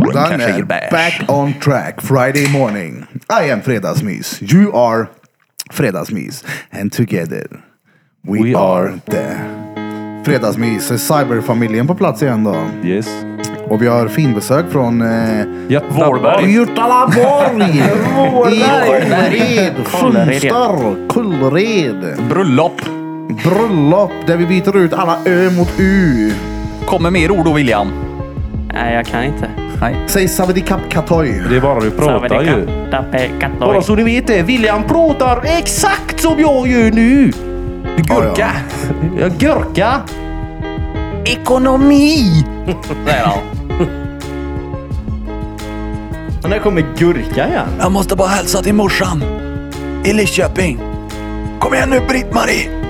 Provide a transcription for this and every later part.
Han kanske är ger bash. back on track Friday morning. I am fredagsmys. You are fredagsmys. And together we, We are, are. the fredagsmys. Cyberfamiljen på plats igen då. Yes. Och vi har finbesök från eh, Vårberg. Götalaborg! I Kållered, Kållered, ja. Sundstorp, Kållered. Bröllop. Bröllop där vi byter ut alla Ö mot U. Kommer mer ord då William? Nej, jag kan inte. Nej. Säg Savedikap Katoj. Det är bara vi pratar ju. Bara ju. så ni vet det, William pratar exakt som jag gör nu. Gurka. Gurka. Jag gurka. Ekonomi. Säger han. Och när kommer gurka igen? Jag måste bara hälsa till morsan. I Lidköping. Kom igen nu Britt-Marie.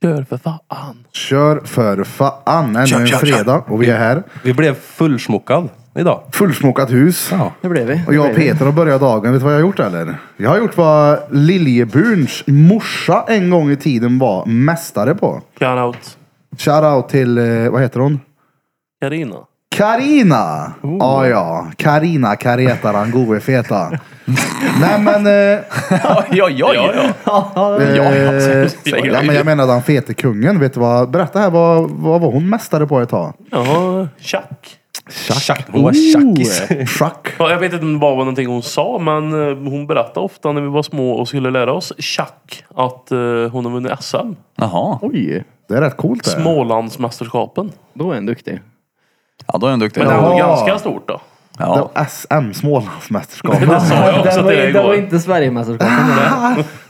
Gör för fan. Kör för fan. Ännu Kör, en kör, fredag och vi är här. Vi blev fullsmockad idag. Fullsmokat hus. Nu blev vi. Och jag och Peter har börjat dagen. Vet du vad jag har gjort eller? Jag har gjort vad Liljeburns morsa en gång i tiden var mästare på. Shoutout Shoutout till, eh, vad heter hon? Carina. Karina! Ja, ja. Karina Kareta den gode feta. Nej, men... Eh, Oj, oj, oj. eh, säger ja, du. men jag menade han fete kungen. Vet du vad? Berätta här, vad, vad var hon mästare på ett tag? Ja, tjack. Tjack. Hon var tjackis. Schack. Ja, jag vet inte om det bara var någonting hon sa, men eh, hon berättade ofta när vi var små och skulle lära oss tjack att eh, hon har vunnit SM. Jaha. Oj, Det är rätt coolt det. Smålandsmästerskapen. då är en duktig. Ja, då är han duktig. Men det Ja. var ganska stort då. Ja. Det- SM, Smålandsmästerskap. Det sa jag Det också till var, dig det var igår. inte Sverigemästerskapen.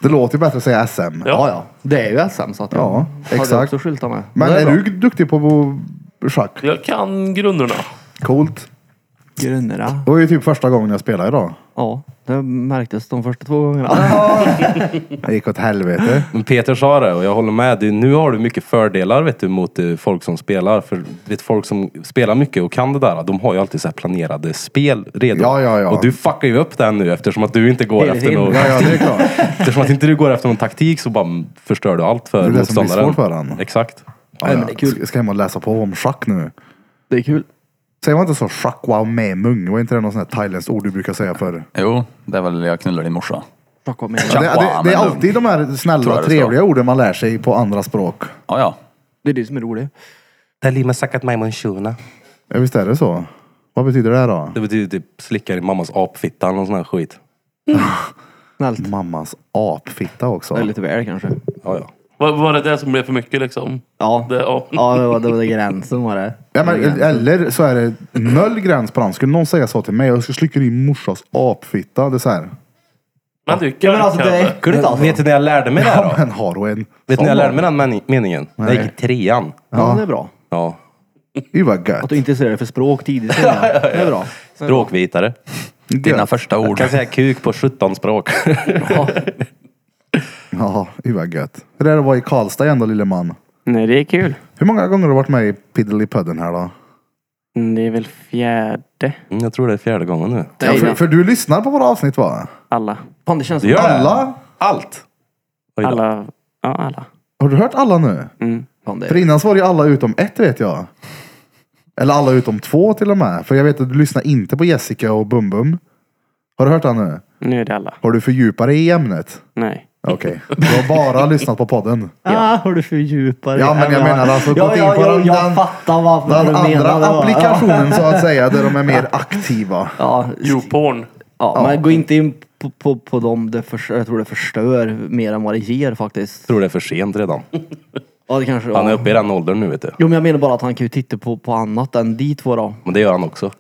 det låter ju bättre att säga SM. Ja, ja. Det är ju SM så att jag Ja, hade exakt. också skyltar med. Men Det är bra. du duktig på schack? Jag kan grunderna. Coolt. Grunderna. Det var ju typ första gången jag spelade idag. Ja, det märktes de första två gångerna. Det gick åt helvete. Men Peter sa det och jag håller med. Du, nu har du mycket fördelar vet du, mot eh, folk som spelar. För vet, folk som spelar mycket och kan det där, de har ju alltid så här planerade spel redo. Ja, ja, ja. Och du fuckar ju upp den nu eftersom att du inte går Hela efter tiden. någon, Ja, ja, det är klart. eftersom att inte du går efter någon taktik så bara mm, förstör du allt för Det är det som blir motståndaren. svårt för han. Exakt. Ja, Nej, men det är ja. kul. Ska- Ska hem och läsa på om schack nu. Det är kul. Säger man inte så schack wow med mung? Var inte det något sånt här thailändskt ord du brukar säga för? Jo, det är väl jag knullar din morsa. Fuck vad med. Ja, Schack, det, det, wow, det är med mung. alltid de här Tror snälla, jag det trevliga orden man lär sig på andra språk. Ja, ja. Det är det som är roligt. Det är med sackat mig manchuna. Ja, visst är det så? Vad betyder det här då? Det betyder typ slicka i mammas apfitta eller någon sån här skit. Snällt. Mammas apfitta också. Det är lite väl kanske. Ja, ja. Var, var det det som blev för mycket liksom? Ja, Det, ja. ja det var, det var det gränsen var det. Ja, men, eller så är det noll gräns på den. Skulle någon säga så till mig? Jag ska slicka din morsas apfitta. Det är så här. Men du Ja, men alltså det är äckligt alltså. Vet du när jag lärde mig det här då? Men har du en? Vet ni när jag lärde mig den meni- meningen? När jag gick i trean. Ja, det är bra. Ja. Gud vad gött. Att du intresserar dig för språk tidigt. känner jag. Det är bra. Språkvitare. Dina första Jag ord. kan säga kuk på 17 språk. Ja, gud vad gött. Hur är det att vara i Karlstad igen då lille man? Nej, det är kul. Hur många gånger har du varit med i Piddelipudden här då? Mm, Det är väl fjärde Mm, Jag tror det är fjärde gången nu. Ja, Nej, för, nej. för du lyssnar på våra avsnitt va? alla. Fan det känns Det gör det. Alla? Allt. Oj då. Alla. Ja, alla. Har du hört alla nu? Mm. Fan, det För innan så var det ju alla utom ett vet jag. Eller alla utom två till och med. För jag vet att du lyssnar inte på Jessica och Bum Bum. Har du hört han nu? Nu är det alla. Har du fördjupat dig i ämnet? Nej. Okej. Du har bara lyssnat på podden. Ah, har du fördjupat dig? Ja, men jag menar alltså, Ja, gått in ja, på ja, den- jag den- fattar vad Den vad du menar. andra då. applikationen så att säga, där de är mer aktiva. Ja, Youporn. ja, man går inte in på, på, på dem. Det förs- jag tror det förstör mer än vad det ger faktiskt. Jag tror det är för sent redan. Ja, det kanske Han är ja. uppe i den åldern nu vet du. Jo, men jag menar bara att han kan ju titta på, på annat än de två då. Men det gör han också.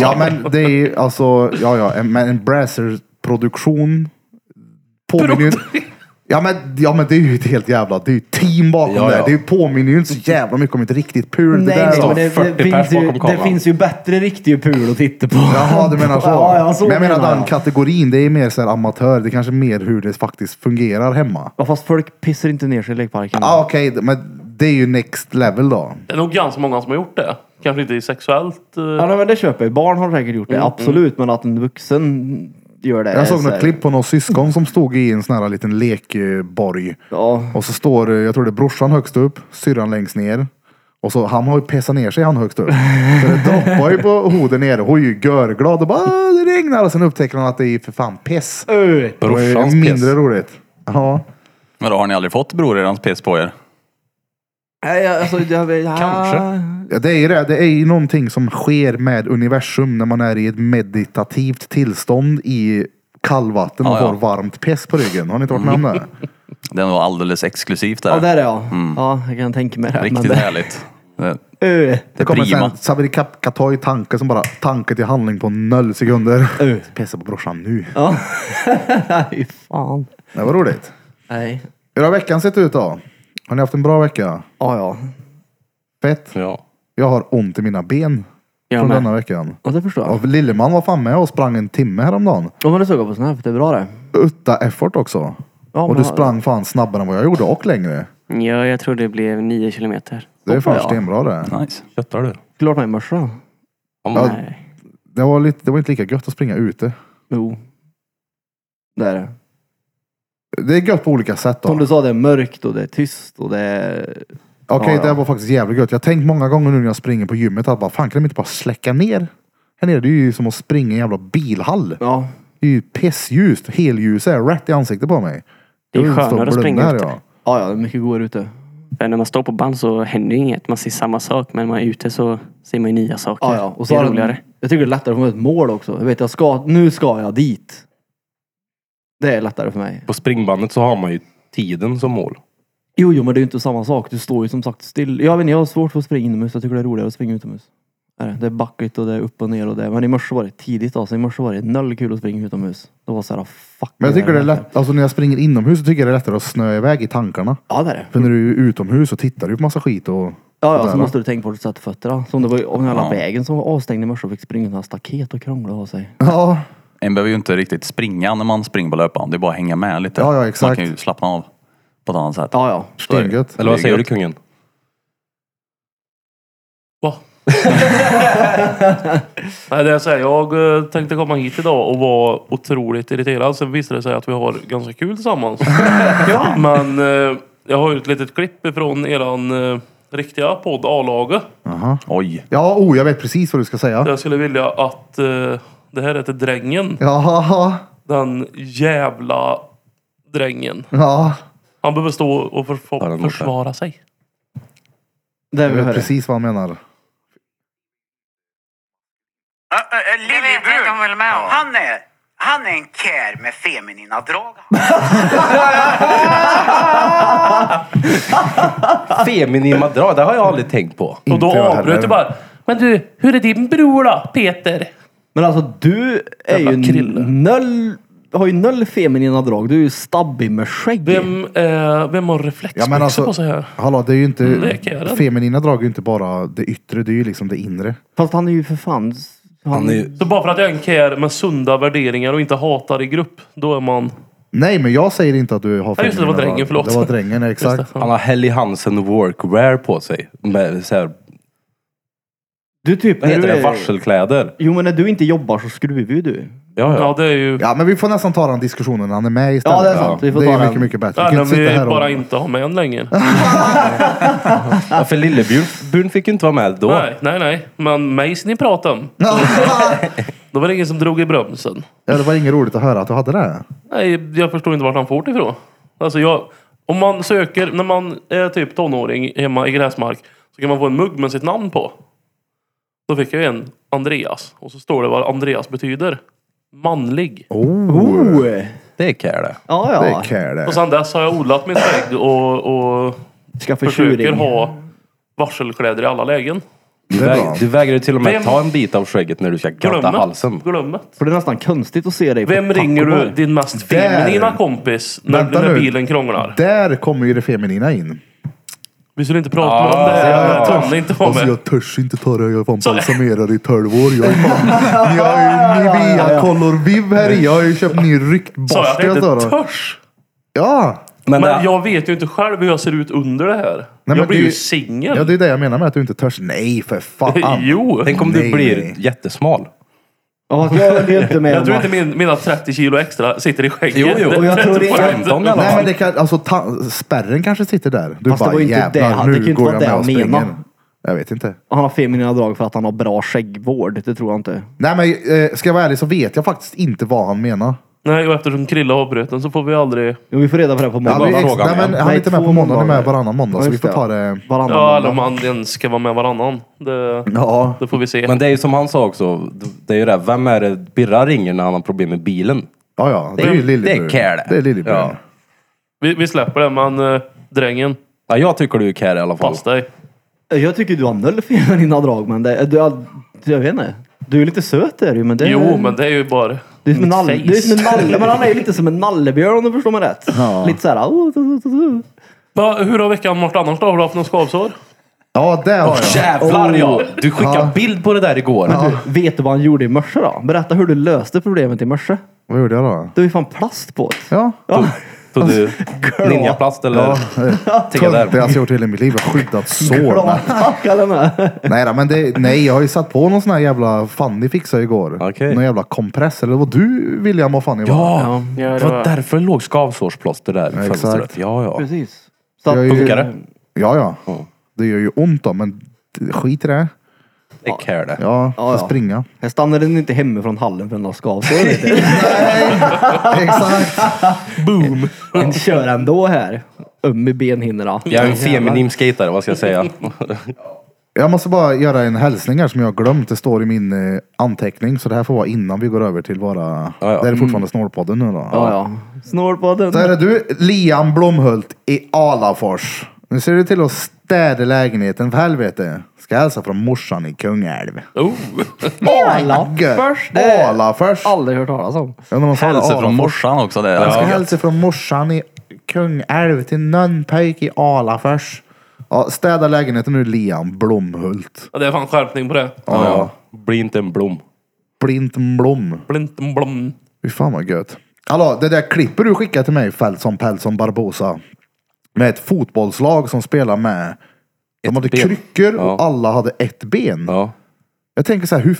Ja men det är ju alltså, ja ja, en- men en Brasser-produktion påminner ju... Ja men, ja men det är ju ett helt jävla, det är ju ett team bakom Ja, det. ja. Det är ju- påminner ju inte så jävla mycket om ett riktigt pul. det Nej, där nej, då. men det, 40 det, pers finns ju, bakom kameran. det finns ju bättre riktig pul att titta på. Jaha, du menar så? Ja, ja, så men jag menar, menar den jag. kategorin, det är mer så här amatör. Det är kanske mer hur det faktiskt fungerar hemma. Ja, fast folk pissar inte ner sig i lekparken. Ja ah, okej, men det är ju next level då. Det är nog ganska många som har gjort det. Kanske inte sexuellt. eh, Ja, nej, men det köper jag. Barn har säkert gjort det, absolut. Men att en vuxen gör det. är Jag såg Eh, så här- något klipp på någon syskon som stod i en sån här liten lekborg. Ja, Och så står, eh, jag tror det är brorsan högst upp, syrran längst ner. Och så han har ju pissat ner sig han högst upp. Så det droppar ju på hoden nere. Hon är ju görglad och bara "Ah, det regnar. Och sen upptäcker hon att det är för fan piss. Då är Brorsans det piss. mindre roligt. Ja. Men då har ni aldrig fått brorerans piss på er? Nej, jag- alltså, jag, vet- ja. Kanske. Ja, det är ju det. Det är ju någonting som sker med universum när man är i ett meditativt tillstånd i kallvatten och Ja, ja. får varmt piss på ryggen. Har ni inte varit med om det? Det är nog alldeles exklusivt där. Ja, där är jag. Ja, jag kan tänka mig det. Riktigt men det- härligt. Det, Ö, det Det är kommer prima. sen Sabri Kap- Katoj tanke som bara tanke till handling på noll sekunder. Mm. Pissa på brorsan nu. Ja. Nej, fan. Det var roligt. Nej. Hur har veckan sett ut då? Har ni haft en bra vecka? Ja, ja. Fett. Ja. Jag har ont i mina ben Jag från med. denna veckan. Och det förstår jag. Och Lilleman var fan med och sprang en timme häromdagen. Om man såg på Snap, det är bra det. Utta effort också. Ja, och men du har- sprang fan snabbare än vad jag gjorde och längre. Ja, jag tror det blev nio kilometer. Det är fan ja. stenbra det. Nice. Köttar du? Klart mig morse. Ja. Nej. Det var, lite, det var inte lika gött att springa ute. Jo. Det är det. Det är gött på olika sätt då. Som du Okej, sa, det är mörkt och det är tyst och det är... Ja, det ja. var faktiskt jävligt gött. Jag har tänkt många gånger nu när jag springer på gymmet att bara, fan kan de inte bara släcka ner? Här nere, det är ju som att springa i en jävla bilhall. Ja. Det är ju pissljust. Helljus är rätt i ansiktet på mig. Det Jag är vill stå och skönare att blunda springa här, ute. ja. Ja, ja, det är mycket godare ute. För när man står på band så händer ju inget. Man ser samma sak. Men när man är ute så ser man ju nya saker. Ja, ja. Och så det är har den- roligare. Jag tycker det är lättare att få ett mål också. Jag vet, jag ska, nu ska jag dit. Det är lättare för mig. På springbandet så har man ju tiden som mål. Jo, jo, men det är ju inte samma sak. Du står ju som sagt still. Jag vet inte, jag har svårt för att springa inomhus. Jag tycker det är roligare att springa utomhus. Det är det. Det är backigt och det är upp och ner och det. Men i morse var det tidigt alltså. I morse var det noll kul att springa utomhus. Då var det såhär, fuck. Men jag tycker det är här. lätt, alltså när jag springer inomhus så tycker jag det är lättare att snöa iväg i tankarna. Ja, det är det. För när du är utomhus så tittar du på massa skit och... Ja, ja, Sådär, så va? måste du tänka på att du sätter fötterna. Som det var ju- om den jävla Ja. vägen som var avstängd i morse och fick springa utan staket och krångla av sig. Ja, En behöver ju inte riktigt springa när man springer på löpband. Det är bara att hänga med lite. Ja, ja, exakt. Man kan ju slappna av på ett annat sätt. Ja, ja. Så är det. stengött. Eller vad Det är säger du gött. kungen? Va? Nej, det är så här, jag eh, tänkte komma hit idag och vara otroligt irriterad. Sen visade det sig att vi har ganska kul tillsammans. ja. Men eh, jag har ju ett litet klipp ifrån eran eh, riktiga podd A-laget. Jaha. Oj. Ja, oh, jag vet precis vad du ska säga. Jag skulle vilja att eh, det här är till drängen. Jaha, Den jävla drängen. ja. Han behöver stå och för, den borta. försvara sig. Det Jag vill jag vet höra. precis vad han menar. Äh, Det vet jag inte om jag håller med om. Han är, han är en kär med feminina drag. Feminima drag, det har jag aldrig tänkt på. Och då Inte jag avbröt heller. jag bara. Men du, hur är din bror då, Peter? Men alltså du är Jävla ju krille. noll... Har ju noll feminina drag. Du är ju stabbig med skägg. Vem, eh, vem har reflexbyxor Ja, men alltså- på sig här? Mm, Hallå, det är ju inte... det kan jag. feminina drag är ju inte bara det yttre, det är ju liksom det inre. Fast han är ju för fan... Han, Han är ju... Så bara för att jag är en kär med sunda värderingar och inte hatar i grupp, då är man... Nej, men jag säger inte att du har Ja, just det, det var feminina drängen, drag. förlåt. Det var drängen, exakt. Han har Helly Hansen workwear på sig. Med så här, Du typ... vad när heter du det? är- Varselkläder. Jo men när du inte jobbar så skruvar ju du. Ja, Ja, ja. det är ju... Ja, men vi får nästan ta den diskussionen när han är med istället. Ja, det är sant. Vi får det ta är den. mycket, mycket bättre. Eller om inte sitta vi här och- bara inte har med en längre. ja för Lillebjörn fick ju inte vara med då. Nej, nej, nej. Men mig som ni pratade om. Då var det ingen som drog i bromsen. Ja, det var inget roligt att höra att du hade det. Nej, jag förstår inte vart han får det ifrån. Alltså jag... Om man söker, när man är typ tonåring hemma i gräsmark, så kan man få en mugg med sitt namn på. Då fick jag en Andreas. Och så står det vad Andreas betyder. Manlig. Oh, Det är care det. Ja, ja. det är care det. Och sen dess har jag odlat min skägg och, och Skaffa försöker tjuring. ha varselkläder i alla lägen. Du, Det är väg, bra. du vägrar ju till och med Vem- ta en bit av skägget när du ska gratta halsen. Glöm det. För det är nästan konstigt att se dig på Vem Taco ringer du Bell. din mest Där. feminina kompis när, Vänta när nu. bilen krånglar? Där kommer ju det feminina in. Vi skulle inte prata om det. här. Tony inte var Alltså med. jag törs inte ta det. Jag är fan Så- balsamerad i 12 år. Jag är fan... Jag är ju Nivea Color Viv här i. Jag har ju köpt ny Sa jag att ryktborste. jag jag inte sa då. törs? Ja. Men, Men äh, jag vet ju inte själv hur jag ser ut under det här. men jag blir det- ju ja, singel. det är det jag menar med att du inte törs. Nej, för fan. jo. tänk om Nej, du blir nej. jättesmal. Ja, fast jag höll ju inte med Jag om tror att- inte min, mina 30 kilo extra sitter i skägget. Jo, jo. Det- Och jag tror det är... 15 i alla Nej, men fall. det kan, alltså, ta, spärren kanske sitter där. Du Fast det bara var ju inte det. jävlar, Det kan ju nu inte går vara jag det med och han springer. menade. Jag vet inte. Han har feminina drag för att han har bra skäggvård. Det tror jag inte. Nej men eh, ska jag vara ärlig så vet jag faktiskt inte vad han menar. Nej, och eftersom Krille avbröt den så får vi aldrig... Jo, vi får reda på det på måndag. Han är, ex- fråga nej, men, igen. han är Nej, inte med två på måndag, han är måndagar. med varannan måndag. Ja, så alltså, vi just får det. ta det... Varannan Ja, eller måndag. om han ens ska vara med varannan. Det, Ja. det får vi se. Men det är ju som han sa också. Det är ju det. här, Vem är det Birra ringer när han har problem med bilen? Ja, ja. Det är ju Det- lillebror. det är Care det. Det är lillebror. Ja. Vi, vi släpper det, men eh, drängen, Ja, jag tycker du är care i alla fall. pass dig. Jag tycker du har noll feminina drag, men det, du har, jag vet inte. Du är lite söt är du men det Jo, men det är ju bara... Du är som en mitt nalle, face. du är som en nalle, men han är ju lite som en nallebjörn om du förstår mig rätt. Lite såhär... Oh, oh, oh, oh. Va, hur har veckan varit annars då? Har du haft något skavsår? Ja, det har jag. Jävlar ja! Oh. Du skickade bild på det där igår. Du, vet du vad han gjorde i morse då? Berätta hur du löste problemet i morse. Vad gjorde jag då? Du är fan plast på det. Ja. Ja. Tog du ninjaplast eller? Tänker där. Töntigaste jag gjort i hela mitt liv. Jag har skyddat sår. Nej. Glatackar den här. Nej, då, men det, nej, jag har ju satt på någon sån här jävla Fanny fixade igår. Okej. Någon jävla kompress. Eller vad du William och Fanny var. Ja! ja, det det var var- därför det låg skavsårsplåster där i Ja, exakt. fönstret. Ja, ja. Precis. Så Jag är att, ju- Funkar det? Ja, ja. Det gör ju ont då, men skit i det. Det är care det. Ja, Ja, ja, ja. springa. jag stannade inte hemifrån hallen för en dag skavsår. vet du. Exakt. Men Kör ändå här. Öm i benhinnorna. Jag är en feminin skatare, vad ska jag säga? Jag måste bara göra en hälsning här som jag har glömt. Det står i min eh, anteckning. Så det här får vara innan vi går över till våra... Ja, ja. Det här är fortfarande Snålpodden nu då. Ja, ja. Snålpodden. Så är det du, Liam Blomhult i Alafors. Nu ser du till att städa lägenheten för helvete. Ska hälsa från morsan i Kungälv. Oh. Alafors, det- Alafors. Aldrig hört talas om. Jag undrar om de sa Hälsa från Alafors. morsan också. Det. Jag ska Ja. hälsa från morsan i Kungälv till någon pojk i Alafors. Ja, städa lägenheten nu Liam Blomhult. Ja, det är fan skärpning på det. Ja, ja. Bli inte en blom. Blint Blom. Blint, blom. Fy fan vad gött. Hallå, det där klippet du skickade till mig, Feltson Peltson Barbosa. Med ett fotbollslag som spelar med... De hade ben. kryckor och Ja. alla hade ett ben. Ja. Jag tänker så här, hur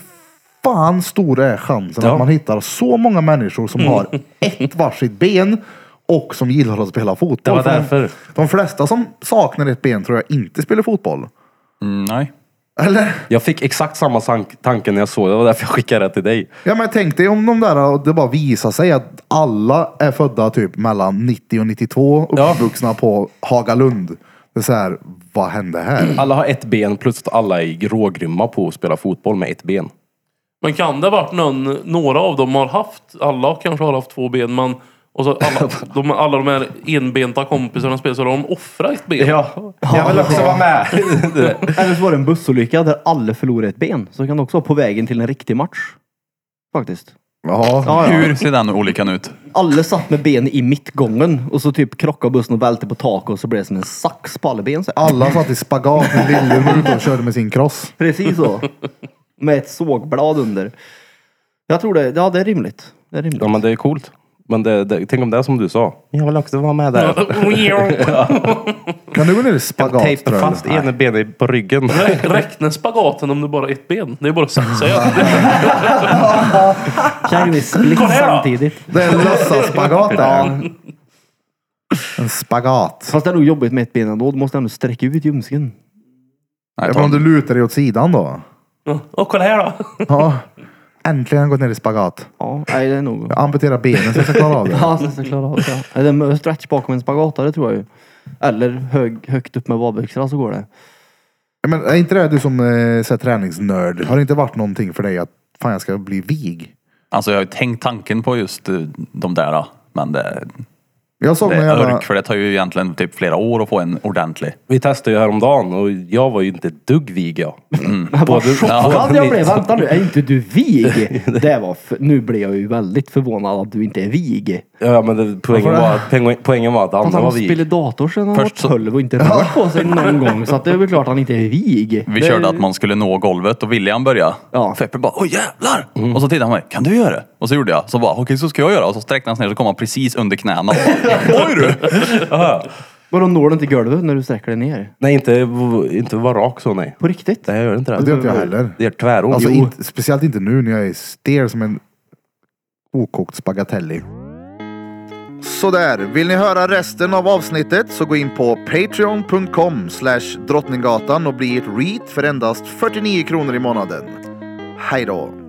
fan stor är chansen Ja. Mm. att man hittar så många människor som har ett varsitt ben och som gillar att spela fotboll? Det var För de- därför. De flesta som saknar ett ben tror jag inte spelar fotboll. Mm, nej. Eller? Jag fick exakt samma sank- tanke när jag såg det. Det var därför jag skickade det till dig. Ja men tänk dig om de där, och det bara visar sig att alla är födda typ mellan 90 och 92, Ja. uppvuxna på Hagalund. Det är så här, vad hände här? Alla har ett ben plus att alla är rågrymma på att spela fotboll med ett ben. Men kan det ha varit någon, några av dem har haft, alla kanske har haft två ben, men och så alla, de, alla de här enbenta kompisarna spelar så har de offrat ett ben. Ja, jag vill också vara med. Eller så var det en bussolycka där alla förlorade ett ben. Så kan det också vara på vägen till en riktig match. Faktiskt. Ja, Ja, ja. Hur ser den olyckan ut? Alla satt med ben i mittgången och så typ krockade bussen och välte på taket och så blev det som en sax på alla ben. Så här. Alla satt i spagat när Lille var ute och körde med sin cross. Precis så. Med ett sågblad under. Jag tror det, ja det är rimligt. Det är rimligt. Ja, men det är coolt. Men det, det, tänk om det är som du sa. Jag vill också vara med där. Kan du gå ner i spagat Tejpa tror jag? fast ena benet på ryggen. Rä- Räknar spagaten om det bara är ett ben? Det är bara att satsa. Ja. Kan vi split Kolla här då! samtidigt? Det är en låtsasspagat där. En spagat. Fast det är nog jobbigt med ett ben ändå. Du måste ändå sträcka ut ljumsken. Nej, Ja, men Tom. om du lutar dig åt sidan då? Och kolla här då! Ja. Äntligen har jag gått ner i spagat. Ja, nej det är nog... Jag amputerar benen så jag ska klara av det. Ja, så jag ska klara av det. Ja. Det är med stretch bakom en spagatare tror jag ju. Eller hög, högt upp med vadbyxorna så går det. Men är inte det du som eh, så här, träningsnörd? Har det inte varit någonting för dig att fan jag ska bli vig? Alltså jag har ju tänkt tanken på just eh, de där. då. Men det, Jag såg det någon är jävla... örk för det tar ju egentligen typ flera år att få en ordentlig. Vi testade ju häromdagen och jag var ju inte ett dugg vig jag. Vad Både- chockad Ja. jag blev. Vänta nu, är inte du vig? Det var för, nu blev jag ju väldigt förvånad att du inte är vig. Ja men det, poängen, var, att- poäng, poängen var att Att andra var han vig. spelade dator sedan han Först var så- 12 och inte rört på sig någon gång. Så att det är väl klart att han inte är vig. Vi det... körde att man skulle nå golvet och William började. Ja. Mm. Feppe bara, åh jävlar! Och så tittade han på mig, kan du göra det? Och så gjorde jag. Så bara, okej så ska jag göra. Och så sträckte han sig ner så kom han precis under knäna. Och bara, Oj du! Vadå, når du inte golvet när du sträcker dig ner? Nej inte, inte vara rak så nej. På riktigt? Nej jag gör inte det. Det gör inte jag heller. Det gör tväront. Alltså, Jo. inte, speciellt inte nu när jag är stel som en okokt spagatelli. Sådär, vill ni höra resten av avsnittet så gå in på patreon.com slash drottninggatan och bli ett reat för endast 49 kronor i månaden. Hej då!